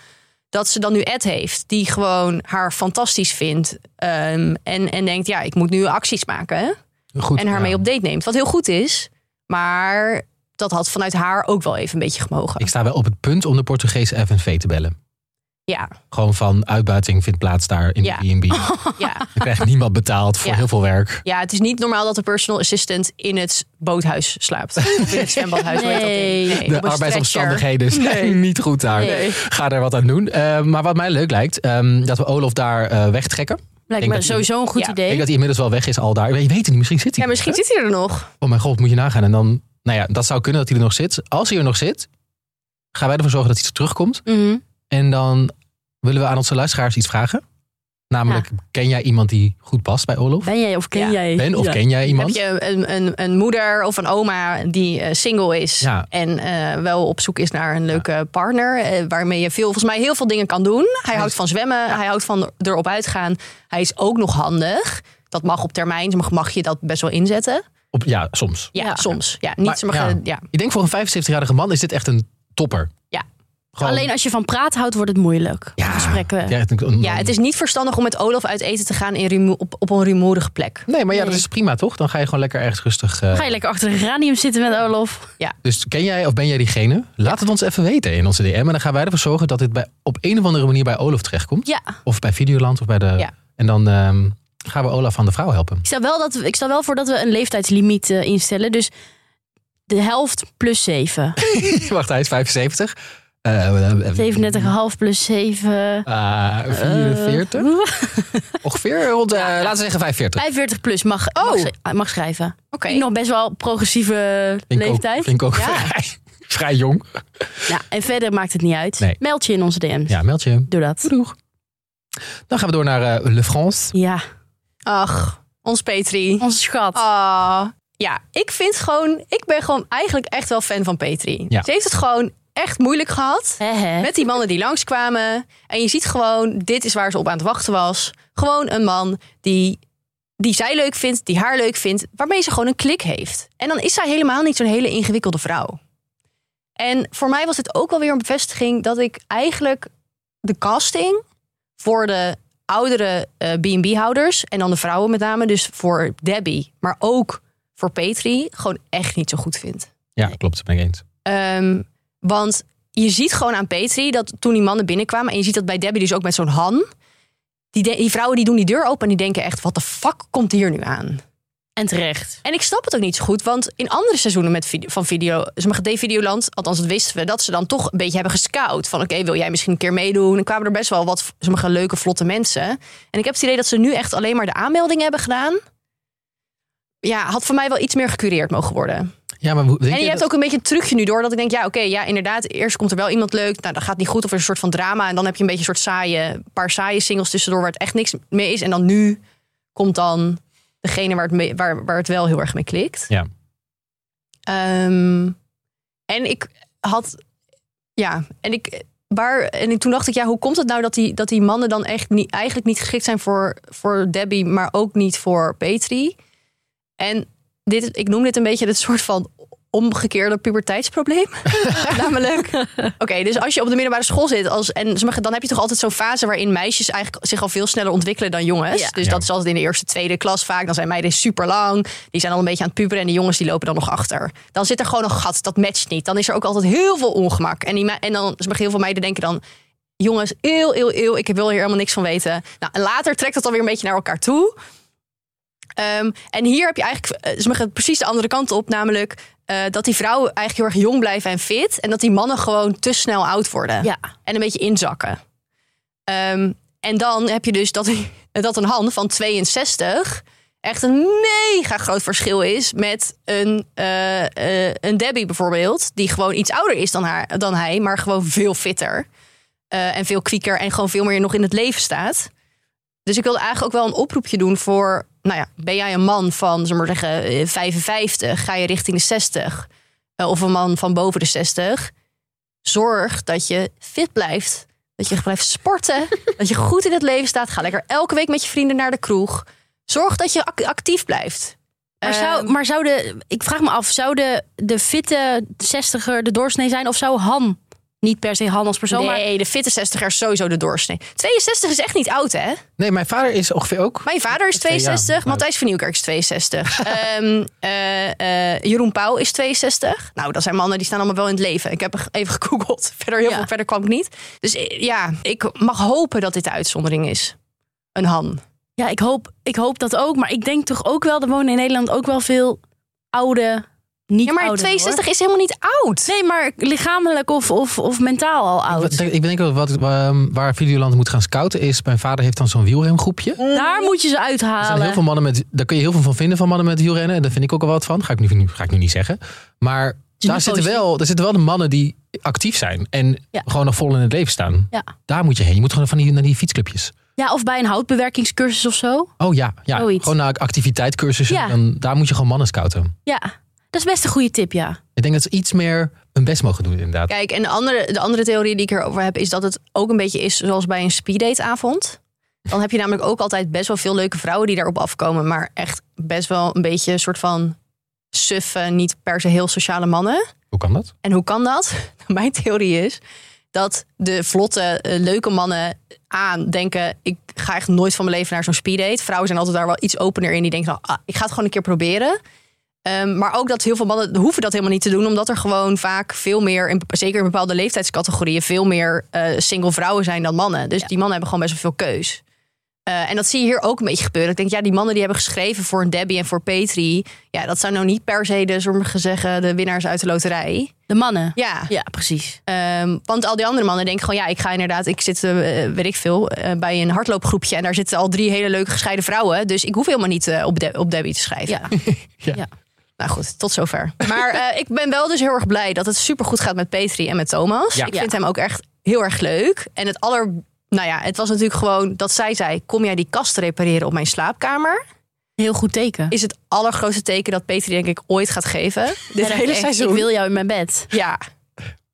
Speaker 3: dat ze dan nu Ed heeft, die gewoon haar fantastisch vindt. ehm, en, en denkt, ja, ik moet nu acties maken. hè?
Speaker 2: Goed, nou.
Speaker 3: En haar
Speaker 2: ja.
Speaker 3: mee op date neemt. Wat heel goed is, maar dat had vanuit haar ook wel even een beetje gemogen.
Speaker 2: Ik sta wel op het punt om de Portugese FNV te bellen.
Speaker 3: Ja,
Speaker 2: Gewoon van uitbuiting vindt plaats daar in
Speaker 3: Ja.
Speaker 2: de
Speaker 3: <laughs>
Speaker 2: B&B. Dan
Speaker 3: ja.
Speaker 2: krijgt niemand betaald voor
Speaker 3: Ja.
Speaker 2: heel veel werk.
Speaker 3: ja, het is niet normaal dat de personal assistant in het boothuis slaapt. Of in het zwembadhuis. hoe heet dat ding?
Speaker 1: Nee.
Speaker 3: op
Speaker 2: De
Speaker 3: een stretcher.
Speaker 2: arbeidsomstandigheden zijn niet goed daar.
Speaker 1: Nee.
Speaker 2: Ga er wat aan doen. Eh, maar wat mij leuk lijkt, ehm, dat we Olof daar eh, wegtrekken.
Speaker 1: Lijkt
Speaker 2: Ik
Speaker 1: me
Speaker 2: dat-
Speaker 1: sowieso een goed
Speaker 3: Ja, ik
Speaker 2: Ik
Speaker 1: idee.
Speaker 2: denk dat hij inmiddels wel weg is al daar. Je weet het niet, misschien zit hij
Speaker 3: Ja,
Speaker 2: er
Speaker 3: misschien
Speaker 2: nog,
Speaker 3: zit hij er nog.
Speaker 2: hè? Oh mijn god, moet je nagaan. En dan, nou ja, dat zou kunnen dat hij er nog zit. Als hij er nog zit, gaan wij ervoor zorgen dat hij terugkomt.
Speaker 1: Mhm.
Speaker 2: En dan willen we aan onze luisteraars iets vragen. Namelijk, ken jij iemand die goed past bij Olof?
Speaker 1: Ben jij of ken
Speaker 3: Ja.
Speaker 1: jij?
Speaker 2: Ben of
Speaker 1: Ja.
Speaker 2: ken jij iemand?
Speaker 3: Heb je een, een, een moeder of een oma die eh, single is
Speaker 2: Ja.
Speaker 3: en eh, wel op zoek is naar een leuke partner, eh, waarmee je veel, volgens mij heel veel dingen kan doen. Hij houdt van zwemmen, hij houdt van erop uitgaan. Hij is ook nog handig. Dat mag op termijn, dus mag, mag je dat best wel inzetten.
Speaker 2: Op, ja, soms.
Speaker 3: Ja,
Speaker 1: Ja.
Speaker 3: soms. Ja, niet,
Speaker 2: Maar-
Speaker 3: ze mag,
Speaker 2: ja.
Speaker 3: eh, ja.
Speaker 2: Ik denk voor een 75-jarige man is dit echt een topper.
Speaker 3: Ja.
Speaker 2: Gewoon-
Speaker 1: Alleen als je van praat houdt, wordt het moeilijk.
Speaker 2: Ja.
Speaker 1: Gesprekken.
Speaker 2: Ja, het- een-
Speaker 3: ja, het is niet verstandig om met Olaf uit eten te gaan in rumo- op, op een rumoerige plek.
Speaker 2: Nee, maar ja, dat
Speaker 1: Nee.
Speaker 2: is prima toch? Dan ga je gewoon lekker ergens rustig. eh,
Speaker 1: Ga je lekker achter een geranium zitten met Olof?
Speaker 2: Dus ken jij of ben jij diegene? Laat het ons even weten in onze DM. En dan gaan wij ervoor zorgen dat dit bij, op een of andere manier bij Olaf terechtkomt.
Speaker 1: Ja.
Speaker 2: Of bij Videoland of bij de.
Speaker 3: Ja.
Speaker 2: En dan ehm, gaan we Olaf van de vrouw helpen.
Speaker 1: Ik stel wel, dat, we- ik stel wel voor dat we een leeftijdslimiet eh, instellen. Dus de helft plus 7.
Speaker 2: Wacht, hij is 75. Eh, eh, eh,
Speaker 1: 37,5 plus 7.
Speaker 2: eh, 44?
Speaker 1: <laughs>
Speaker 2: Ongeveer rond, eh, laten we zeggen 45.
Speaker 1: 45 plus mag,
Speaker 3: Oh.
Speaker 1: mag, sch- mag schrijven.
Speaker 3: Oké.
Speaker 1: Vind ik nog best wel progressieve
Speaker 2: Vind ik ook-
Speaker 1: leeftijd.
Speaker 2: Vind ik ook
Speaker 3: Ja.
Speaker 2: <laughs> vrij, vrij jong.
Speaker 1: Ja, en verder maakt het niet uit.
Speaker 2: Nee.
Speaker 1: Meld je in onze DM's.
Speaker 2: Ja, meld je.
Speaker 1: Doe dat.
Speaker 2: Doeg. Dan gaan we door naar eh, Le France.
Speaker 1: Ja,
Speaker 3: Ach, ons Petri.
Speaker 1: onze schat.
Speaker 3: Ah. Ja, ik vind gewoon, ik ben gewoon eigenlijk echt wel fan van Petri.
Speaker 2: Ja.
Speaker 3: Ze heeft het gewoon echt moeilijk gehad
Speaker 1: Hè, hè.
Speaker 3: met die mannen die langskwamen. En je ziet gewoon, dit is waar ze op aan het wachten was. Gewoon een man die, die zij leuk vindt, die haar leuk vindt, waarmee ze gewoon een klik heeft. En dan is zij helemaal niet zo'n hele ingewikkelde vrouw. En voor mij was het ook wel weer een bevestiging dat ik eigenlijk de casting voor de oudere eh, B&B-houders en dan de vrouwen met name, dus voor Debbie, maar ook voor Petri, gewoon echt niet zo goed vind.
Speaker 2: Ja, klopt. Dat ben ik eens.
Speaker 3: Ehm, want je ziet gewoon aan Petri dat toen die mannen binnenkwamen... en je ziet dat bij Debbie dus ook met zo'n Han... Die, de- die vrouwen die doen die deur open en die denken echt... wat de fuck komt hier nu aan?
Speaker 1: En terecht.
Speaker 3: En ik snap het ook niet zo goed, want in andere seizoenen met video, van video... sommige D-videoland, althans dat wisten we... dat ze dan toch een beetje hebben gescout. Van oké, wil jij misschien een keer meedoen? En kwamen er best wel wat sommige leuke, vlotte mensen. En ik heb het idee dat ze nu echt alleen maar de aanmelding hebben gedaan... Ja, had voor mij wel iets meer gecureerd mogen worden.
Speaker 2: Ja, maar hoe- denk
Speaker 3: En je
Speaker 2: dat-
Speaker 3: hebt ook een beetje een trucje nu door. Dat ik denk, ja, oké, ja, inderdaad. Eerst komt er wel iemand leuk. Nou, dat gaat niet goed. Of er is een soort van drama. En dan heb je een beetje een soort saaie, een paar saaie singles tussendoor waar het echt niks mee is. En dan nu komt dan degene waar het, mee- waar, waar het wel heel erg mee klikt.
Speaker 2: Ja.
Speaker 3: Ehm, en ik had, ja, en ik, waar, en ik, toen dacht ik, ja, hoe komt het nou dat die, dat die mannen dan echt niet, eigenlijk niet geschikt zijn voor, voor Debbie, maar ook niet voor Petri? En dit, ik noem dit een beetje het soort van omgekeerde puberteitsprobleem. Namelijk, oké, dus als je op de middelbare school zit als, en zeg maar, dan heb je toch altijd zo'n fase waarin meisjes eigenlijk zich al veel sneller ontwikkelen dan jongens.
Speaker 1: Ja.
Speaker 3: Dus
Speaker 2: Ja.
Speaker 3: dat is altijd in de eerste, tweede klas vaak. Dan zijn meiden super lang, die zijn al een beetje aan het puberen en de jongens die lopen dan nog achter. Dan zit er gewoon een gat, dat matcht niet. Dan is er ook altijd heel veel ongemak. En, die, me- en dan, zeg maar, heel veel meiden denken dan, jongens, eeuw, eeuw, eeuw, ik wil hier helemaal niks van weten. Nou, en later trekt dat dan weer een beetje naar elkaar toe. Ehm, en hier heb je eigenlijk eh, ze gaan precies de andere kant op, namelijk eh, dat die vrouwen eigenlijk heel erg jong blijven en fit. En dat die mannen gewoon te snel oud worden
Speaker 1: Ja.
Speaker 3: en een beetje inzakken. Ehm, en dan heb je dus dat, <laughs> dat een Han van 62 echt een mega groot verschil is met een, eh, eh, een Debbie bijvoorbeeld, die gewoon iets ouder is dan, haar, dan hij, maar gewoon veel fitter eh, en veel kwieker en gewoon veel meer nog in het leven staat. Dus ik wilde eigenlijk ook wel een oproepje doen voor, nou ja, ben jij een man van, zeg maar zeggen, eh, 55, ga je richting de 60, eh, of een man van boven de 60, zorg dat je fit blijft, dat je blijft <laughs> sporten, dat je goed in het leven staat, ga lekker elke week met je vrienden naar de kroeg, zorg dat je ac- actief blijft.
Speaker 1: Maar, zou,
Speaker 3: Ehm,
Speaker 1: maar zouden, ik vraag me af, zouden de fitte zestiger de doorsnee zijn? Of zou Han, niet per se Han als persoon, maar
Speaker 3: nee, de fitte 60 is sowieso de doorsnee. 62 is echt niet oud, hè?
Speaker 2: Nee, mijn vader is ongeveer ook.
Speaker 3: Mijn vader is
Speaker 2: Twee jaar,
Speaker 3: 62,
Speaker 2: maar-
Speaker 3: Matthijs van Nieuwkerk is 62. Ehm, eh, eh, Jeroen Pauw is 62. Nou, dat zijn mannen die staan allemaal wel in het leven. Ik heb er even gegoogeld. <laughs> Verder, heel
Speaker 1: Ja.
Speaker 3: veel verder kwam ik niet. Dus eh, ja, ik mag hopen dat dit de uitzondering is. Een Han.
Speaker 1: Ja, ik hoop, ik hoop dat ook. Maar ik denk toch ook wel, er wonen in Nederland ook wel veel oude, niet
Speaker 3: Ja, maar
Speaker 1: ouderen,
Speaker 3: 62 is helemaal niet oud.
Speaker 1: hoor. Nee, maar lichamelijk of, of, of mentaal al
Speaker 2: Wat-
Speaker 1: oud.
Speaker 2: denk- Ik denk dat wat, ehm, waar Videoland moet gaan scouten is. Mijn vader heeft dan zo'n wielrengroepje.
Speaker 1: Daar moet je ze
Speaker 2: Er zijn heel
Speaker 1: uithalen.
Speaker 2: veel mannen met, daar kun je heel veel van vinden van mannen met wielrennen. En daar vind ik ook al wat van. Ga ik nu, nu- ga ik nu niet zeggen. Maar daar
Speaker 1: niet
Speaker 2: zitten, wel, daar zitten wel de mannen die actief zijn. En
Speaker 1: Ja.
Speaker 2: gewoon nog vol in het leven staan.
Speaker 1: Ja.
Speaker 2: Daar moet je heen. Je moet gewoon van die, naar die fietsclubjes.
Speaker 1: Ja, of bij een houtbewerkingscursus of zo.
Speaker 2: Oh ja, ja.
Speaker 1: Zoiets.
Speaker 2: gewoon naar activiteitcursussen.
Speaker 1: Ja.
Speaker 2: Dan, daar moet je gewoon mannen scouten.
Speaker 1: Ja, dat is best een goede tip, ja.
Speaker 2: Ik denk dat ze iets meer hun best mogen doen inderdaad.
Speaker 3: Kijk, en de andere, de andere theorie die ik erover heb... is dat het ook een beetje is zoals bij een speeddateavond. Dan heb je namelijk ook altijd best wel veel leuke vrouwen die daarop afkomen... maar echt best wel een beetje een soort van suffe, niet per se heel sociale mannen.
Speaker 2: Hoe kan dat?
Speaker 3: En hoe kan dat? <laughs> Nou, Mijn theorie is dat de vlotte, eh, leuke mannen aan denken... ik ga echt nooit van mijn leven naar zo'n speeddate. Vrouwen zijn altijd daar wel iets opener in. Die denken, nou, ah, ik ga het gewoon een keer proberen. Ehm, maar ook dat heel veel mannen hoeven dat helemaal niet te doen... omdat er gewoon vaak veel meer, in, zeker in bepaalde leeftijdscategorieën... veel meer eh, single vrouwen zijn dan mannen. Dus die mannen hebben gewoon best wel veel keus. Eh, en dat zie je hier ook een beetje gebeuren. Ik denk, ja, die mannen die hebben geschreven voor een Debbie en voor Petri... ja, dat zijn nou niet per se de, sommige zeggen, de winnaars uit de loterij.
Speaker 1: De mannen.
Speaker 3: Ja.
Speaker 1: Ja, precies.
Speaker 3: Ehm, want al die andere mannen denken gewoon, ja, ik ga inderdaad, ik zit, eh, eh, weet ik veel, eh, bij een hardloopgroepje en daar zitten al drie hele leuke gescheiden vrouwen, dus ik hoef helemaal niet eh, op, de op Debbie te schrijven.
Speaker 1: Ja.
Speaker 3: <laughs>
Speaker 2: Oh,
Speaker 3: Nou goed, tot zover. Maar eh, ik ben wel dus heel erg blij dat het supergoed gaat met Petri en met Thomas.
Speaker 2: Ja.
Speaker 3: Ik vind hem ook echt heel erg leuk. En het aller, nou ja, het was natuurlijk gewoon dat zij zei, kom jij die kast repareren op mijn slaapkamer?
Speaker 1: Heel goed teken.
Speaker 3: Is het allergrootste teken dat Petri denk ik ooit gaat
Speaker 1: <laughs>
Speaker 3: geven. Dit
Speaker 1: Ja,
Speaker 3: hele
Speaker 1: echt,
Speaker 3: seizoen.
Speaker 1: Ik wil jou in mijn bed.
Speaker 3: Ja.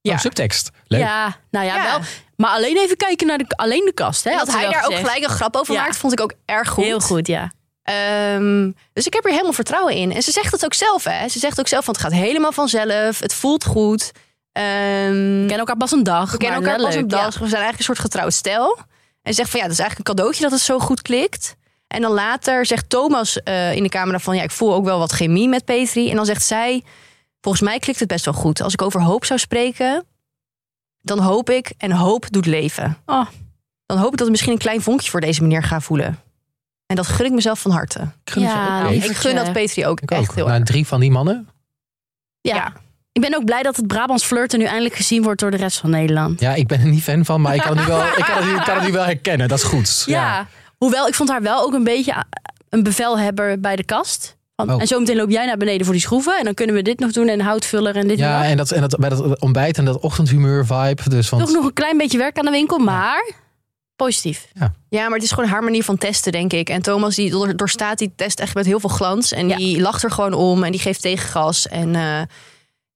Speaker 3: Ja.
Speaker 2: Oh, subtekst. Leuk.
Speaker 1: Ja, nou ja,
Speaker 3: Ja.
Speaker 1: wel. Maar alleen even kijken naar de, alleen de kast. Hè,
Speaker 3: En
Speaker 1: had
Speaker 3: dat hij
Speaker 1: wel
Speaker 3: daar ook
Speaker 1: gezegd.
Speaker 3: gelijk een grap over
Speaker 1: Ja.
Speaker 3: maakt, vond ik ook erg goed.
Speaker 1: Heel goed, ja.
Speaker 3: Ehm, dus ik heb er helemaal vertrouwen in. En ze zegt het ook zelf, hè? Ze zegt ook zelf, want het gaat helemaal vanzelf. Het voelt goed. Ehm,
Speaker 1: We kennen elkaar pas een dag.
Speaker 3: we kennen elkaar pas op dag. We zijn eigenlijk een soort getrouwd stijl. En ze zegt van, ja, dat is eigenlijk een cadeautje dat het zo goed klikt. En dan later zegt Thomas eh, in de camera van, ja, ik voel ook wel wat chemie met Petri. En dan zegt zij, volgens mij klikt het best wel goed. Als ik over hoop zou spreken, dan hoop ik. En hoop doet leven.
Speaker 1: Oh.
Speaker 3: Dan hoop ik dat ik misschien een klein vonkje voor deze meneer ga voelen. En dat gun ik mezelf van harte.
Speaker 2: Ik gun het ze
Speaker 1: Ja,
Speaker 2: ook
Speaker 1: nou,
Speaker 2: even.
Speaker 1: ik-
Speaker 3: Ik gun dat Petri ook
Speaker 2: Ik
Speaker 3: echt
Speaker 2: ook. Nou,
Speaker 3: heel erg.
Speaker 2: Naar drie van die mannen.
Speaker 1: Ja. Ik ben ook blij dat het Brabants flirten nu eindelijk gezien wordt door de rest van Nederland.
Speaker 2: Ja, ik ben er niet fan van, maar ik kan het nu wel, ik kan het nu, ik kan het nu wel herkennen. Dat is goed.
Speaker 1: Hoewel, ik vond haar wel ook een beetje ah, een bevelhebber bij de kast. Van,
Speaker 2: Oh.
Speaker 1: En zometeen loop jij naar beneden voor die schroeven. En dan kunnen we dit nog doen en houtvuller en dit en
Speaker 2: Ja,
Speaker 1: dat.
Speaker 2: en, dat, en dat, bij dat ontbijt en dat ochtendhumeur vibe. Dus want,
Speaker 1: Toch nog een klein beetje werk aan de winkel, maar... Positief.
Speaker 3: Ja, maar het is gewoon haar manier van testen, denk ik. En Thomas die door- doorstaat die test echt met heel veel glans. En
Speaker 1: Ja.
Speaker 3: die lacht er gewoon om en die geeft tegengas. En eh,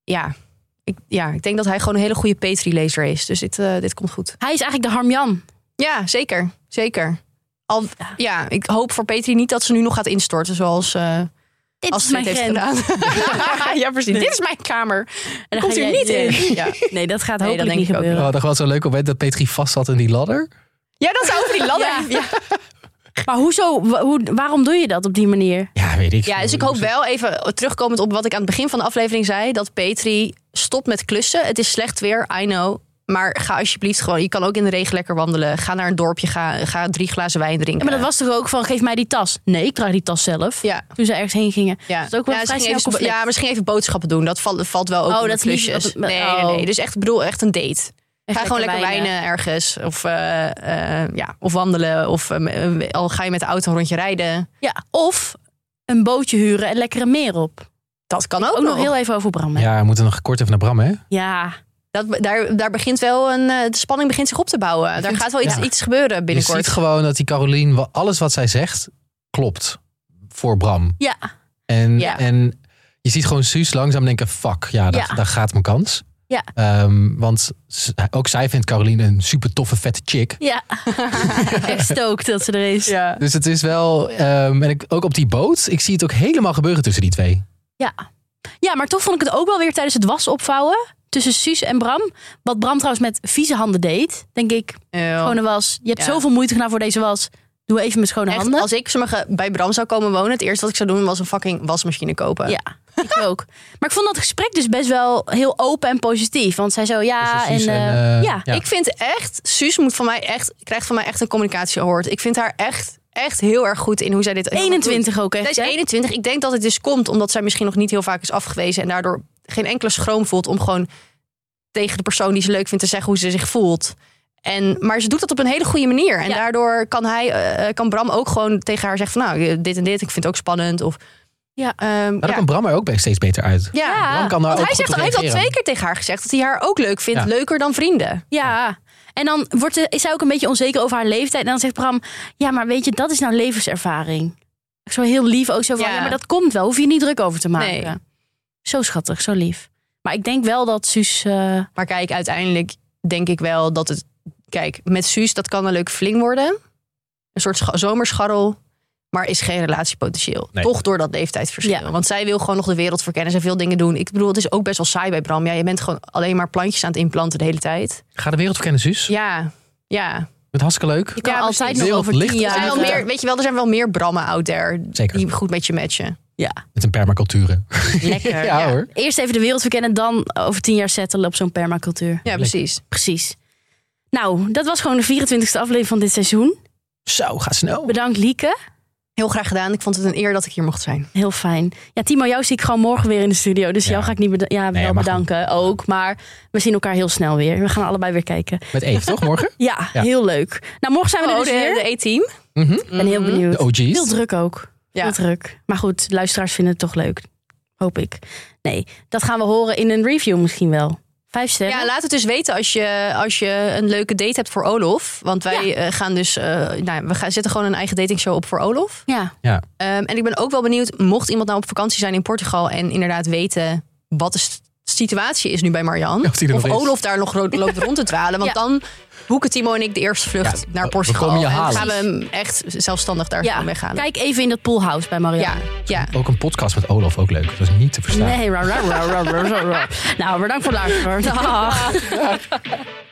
Speaker 3: ja, ik, ja, ik denk dat hij gewoon een hele goede Petri-lezer is. Dus dit, eh, dit komt goed.
Speaker 1: Hij is eigenlijk de Harmjan.
Speaker 3: Ja, zeker. Zeker. Al, ja, ik hoop voor Petri niet dat ze nu nog gaat instorten zoals eh
Speaker 1: Dit is
Speaker 3: Astrid
Speaker 1: mijn
Speaker 3: heeft
Speaker 1: grens.
Speaker 3: gedaan.
Speaker 1: <laughs>
Speaker 3: ja, precies. Dit is mijn kamer.
Speaker 1: En dan
Speaker 3: Komt
Speaker 1: ga
Speaker 3: u
Speaker 1: jij-
Speaker 3: niet in.
Speaker 1: Ja. Nee, dat
Speaker 2: <laughs>
Speaker 1: gaat
Speaker 3: Nee, dat
Speaker 1: hopelijk
Speaker 3: denk
Speaker 1: niet
Speaker 3: ik ook
Speaker 1: gebeuren.
Speaker 2: We hadden gewoon zo leuk op het moment Oh, dat Petri vast zat in die ladder.
Speaker 3: Ja, dat zou over die ladder. Ja. Ja.
Speaker 1: Maar hoezo, wa- hoe, waarom doe je dat op die manier?
Speaker 2: Ja, weet ik.
Speaker 3: dus ik hoop wel even terugkomend op wat ik aan het begin van de aflevering zei. Dat Petri stopt met klussen. Het is slecht weer, I know. Maar ga alsjeblieft gewoon. Je kan ook in de regen lekker wandelen. Ga naar een dorpje. Ga, ga drie glazen wijn drinken.
Speaker 1: maar dat was toch ook van, geef mij die tas. Nee, ik draag die tas zelf.
Speaker 3: Ja.
Speaker 1: Toen ze ergens heen gingen.
Speaker 3: Ja,
Speaker 1: Dat is ook wel
Speaker 3: ja,
Speaker 1: een
Speaker 3: ze
Speaker 1: vrij
Speaker 3: gingen
Speaker 1: snel
Speaker 3: even,
Speaker 1: conflict.
Speaker 3: ja, misschien even boodschappen doen. Dat valt, valt wel ook
Speaker 1: Oh,
Speaker 3: onder
Speaker 1: dat is niet
Speaker 3: klusjes.
Speaker 1: op het-
Speaker 3: nee,
Speaker 1: oh.
Speaker 3: nee, nee. Dus echt, ik bedoel, echt een date.
Speaker 1: Echt
Speaker 3: Ga gewoon lekker wijnen, ergens. Of, eh, eh, ja, of wandelen. Of eh, al ga je met de auto een rondje rijden.
Speaker 1: Ja, of een bootje huren en lekker een meer op.
Speaker 3: Dat kan
Speaker 1: Ook,
Speaker 3: ook,
Speaker 1: nog heel even over Bram. hè?
Speaker 2: Ja, we moeten nog kort even naar Bram, hè?
Speaker 1: ja.
Speaker 3: Dat, daar, daar begint wel een... eh, de spanning begint zich op te bouwen. Daar gaat wel iets,
Speaker 2: ja.
Speaker 3: iets gebeuren
Speaker 2: Je ziet
Speaker 3: binnenkort.
Speaker 2: gewoon dat die Carolien, wa- alles wat zij zegt, klopt voor Bram.
Speaker 1: Ja.
Speaker 2: En,
Speaker 3: Ja.
Speaker 2: en je ziet gewoon Suus langzaam denken, fuck, ja, daar,
Speaker 1: Ja.
Speaker 2: daar gaat mijn kans.
Speaker 1: Ja.
Speaker 2: Ehm, want z- ook zij vindt Carolien een super toffe, vette chick.
Speaker 1: Ja. Echt stookt dat ze er is.
Speaker 3: Ja.
Speaker 2: Dus het is wel, ehm, en ik, ook op die boot, ik zie het ook helemaal gebeuren tussen die twee.
Speaker 1: Ja, maar toch vond ik het ook wel weer tijdens het was opvouwen. Tussen Suus en Bram. Wat Bram trouwens met vieze handen deed. Denk ik,
Speaker 3: Ja.
Speaker 1: gewoon een was. Je hebt
Speaker 3: Oh. Ja.
Speaker 1: zoveel moeite gedaan voor deze was. Doe even met schone
Speaker 3: Echt,
Speaker 1: handen.
Speaker 3: als ik sommige, bij Bram zou komen wonen... het eerste wat ik zou doen was een fucking wasmachine kopen.
Speaker 1: Ja, ik ook. Maar ik vond dat gesprek dus best wel heel open en positief. Want zij zo, ja,
Speaker 2: Tussen
Speaker 1: en...
Speaker 2: Suus
Speaker 1: eh,
Speaker 2: eh,
Speaker 1: ja,
Speaker 2: ja.
Speaker 3: Ik vind echt, Suus moet van mij echt, krijgt van mij echt een communicatiehoort. Ik vind haar echt, echt heel erg goed in hoe zij dit.
Speaker 1: 21 ook echt.
Speaker 3: Zij is
Speaker 1: hè?
Speaker 3: 21. Ik denk dat het dus komt omdat zij misschien nog niet heel vaak is afgewezen. En daardoor geen enkele schroom voelt om gewoon tegen de persoon die ze leuk vindt te zeggen hoe ze zich voelt. En, maar ze doet dat op een hele goede manier. En
Speaker 1: Ja.
Speaker 3: daardoor kan, hij, eh, kan Bram ook gewoon tegen haar zeggen van nou, dit en dit, ik vind het ook spannend. Of,
Speaker 1: Ja.
Speaker 3: Ehm,
Speaker 2: Maar
Speaker 3: ja.
Speaker 2: daar kan Bram er ook steeds beter uit.
Speaker 3: Ja.
Speaker 1: Ja.
Speaker 2: Bram kan daar
Speaker 3: Ah, Want
Speaker 2: ook
Speaker 3: hij,
Speaker 2: goed
Speaker 3: zegt,
Speaker 2: op
Speaker 3: hij heeft al
Speaker 2: reageren.
Speaker 3: twee keer tegen haar gezegd dat hij haar ook leuk vindt.
Speaker 2: Ja.
Speaker 3: Leuker dan vrienden.
Speaker 1: Ja. En dan wordt ze, is zij ook een beetje onzeker over haar leeftijd. En dan zegt Bram, ja, maar weet je, dat is nou levenservaring. Zo heel lief ook zo van, ja,
Speaker 3: Ja.
Speaker 1: maar dat komt wel. Hoef je niet druk over te maken.
Speaker 3: Nee.
Speaker 1: Zo schattig, zo lief. Maar ik denk wel dat Suus... eh,
Speaker 3: Maar kijk, uiteindelijk denk ik wel dat het... Kijk, met Suus, dat kan een leuke fling worden. Een soort scha- zomerscharrel. Maar is geen relatiepotentieel.
Speaker 2: Nee.
Speaker 3: Toch door dat leeftijdsverschil.
Speaker 1: Ja.
Speaker 3: Want zij wil gewoon nog de wereld verkennen. Zij wil dingen doen. Ik bedoel, het is ook best wel saai bij Bram. Ja, je bent gewoon alleen maar plantjes aan het implanten de hele tijd.
Speaker 2: Ga de wereld verkennen, Suus.
Speaker 3: Ja, ja.
Speaker 2: Met hartstikke leuk.
Speaker 1: je kan
Speaker 3: Ja,
Speaker 1: altijd
Speaker 3: precies.
Speaker 1: nog
Speaker 2: Wereld
Speaker 1: over tien
Speaker 2: ligt
Speaker 3: Er
Speaker 1: jaar...
Speaker 3: zijn wel
Speaker 1: verder.
Speaker 3: meer, weet je wel, er zijn wel meer Brammen out there.
Speaker 2: Zeker.
Speaker 3: Die goed met je matchen.
Speaker 2: Met een permacultuur. <laughs>
Speaker 3: Lekker.
Speaker 2: ja, hoor.
Speaker 1: Eerst even de wereld verkennen, dan over tien jaar settelen op zo'n permacultuur.
Speaker 3: Ja, precies.
Speaker 1: Precies. Nou, dat was gewoon de 24e aflevering van dit seizoen.
Speaker 2: Zo, ga snel.
Speaker 1: Bedankt Lieke.
Speaker 3: Heel graag gedaan. Ik vond het een eer dat ik hier mocht zijn.
Speaker 1: Heel fijn. Ja, Timo, jou zie ik gewoon morgen weer in de studio. Dus
Speaker 2: Ja.
Speaker 1: jou ga ik niet beda- ja,
Speaker 2: Nee,
Speaker 1: wel
Speaker 2: mag
Speaker 1: bedanken ook. Maar we zien elkaar heel snel weer. We gaan allebei weer kijken.
Speaker 2: Met Eve, toch,
Speaker 3: <laughs>
Speaker 2: morgen?
Speaker 1: Ja,
Speaker 2: Ja.
Speaker 1: heel leuk. Nou, morgen zijn we er
Speaker 3: Oh,
Speaker 1: dus weer.
Speaker 3: de, de E-team.
Speaker 2: Mhm.
Speaker 1: Ik ben heel
Speaker 2: De
Speaker 1: benieuwd. Heel
Speaker 2: OG's.
Speaker 1: druk ook.
Speaker 3: Ja.
Speaker 1: Heel druk. Maar goed, luisteraars vinden het toch leuk. Hoop ik. Nee, dat gaan we horen in een review misschien wel. Vijf sterren.
Speaker 3: Ja, laat het dus weten als je, als je een leuke date hebt voor Olof. Want wij
Speaker 1: Ja.
Speaker 3: eh, gaan dus, eh, nou, we gaan, zetten gewoon een eigen datingshow op voor Olof.
Speaker 1: Ja.
Speaker 2: Ja.
Speaker 3: Ehm, en ik ben ook wel benieuwd, mocht iemand nou op vakantie zijn in Portugal en inderdaad weten wat de s- situatie is nu bij Marianne.
Speaker 2: Ja, of die er
Speaker 3: of
Speaker 2: nog is.
Speaker 3: Olof daar nog ro- loopt rond te dwalen. Want
Speaker 1: Ja.
Speaker 3: dan boeken Timo en ik de eerste vlucht
Speaker 2: Ja,
Speaker 3: naar
Speaker 2: we
Speaker 3: Portugal.
Speaker 2: komen je
Speaker 3: en dan
Speaker 2: halen.
Speaker 3: gaan we hem echt zelfstandig daar
Speaker 1: Ja.
Speaker 3: gewoon weghalen.
Speaker 1: Kijk even in dat poolhouse bij Marianne.
Speaker 3: ja, ja.
Speaker 2: Ook een podcast met Olaf, ook leuk. Dat is niet te verstaan.
Speaker 1: <laughs> Nee, ra, ra, ra, ra, ra, ra. Nou, bedankt voor het luisteren. Dag.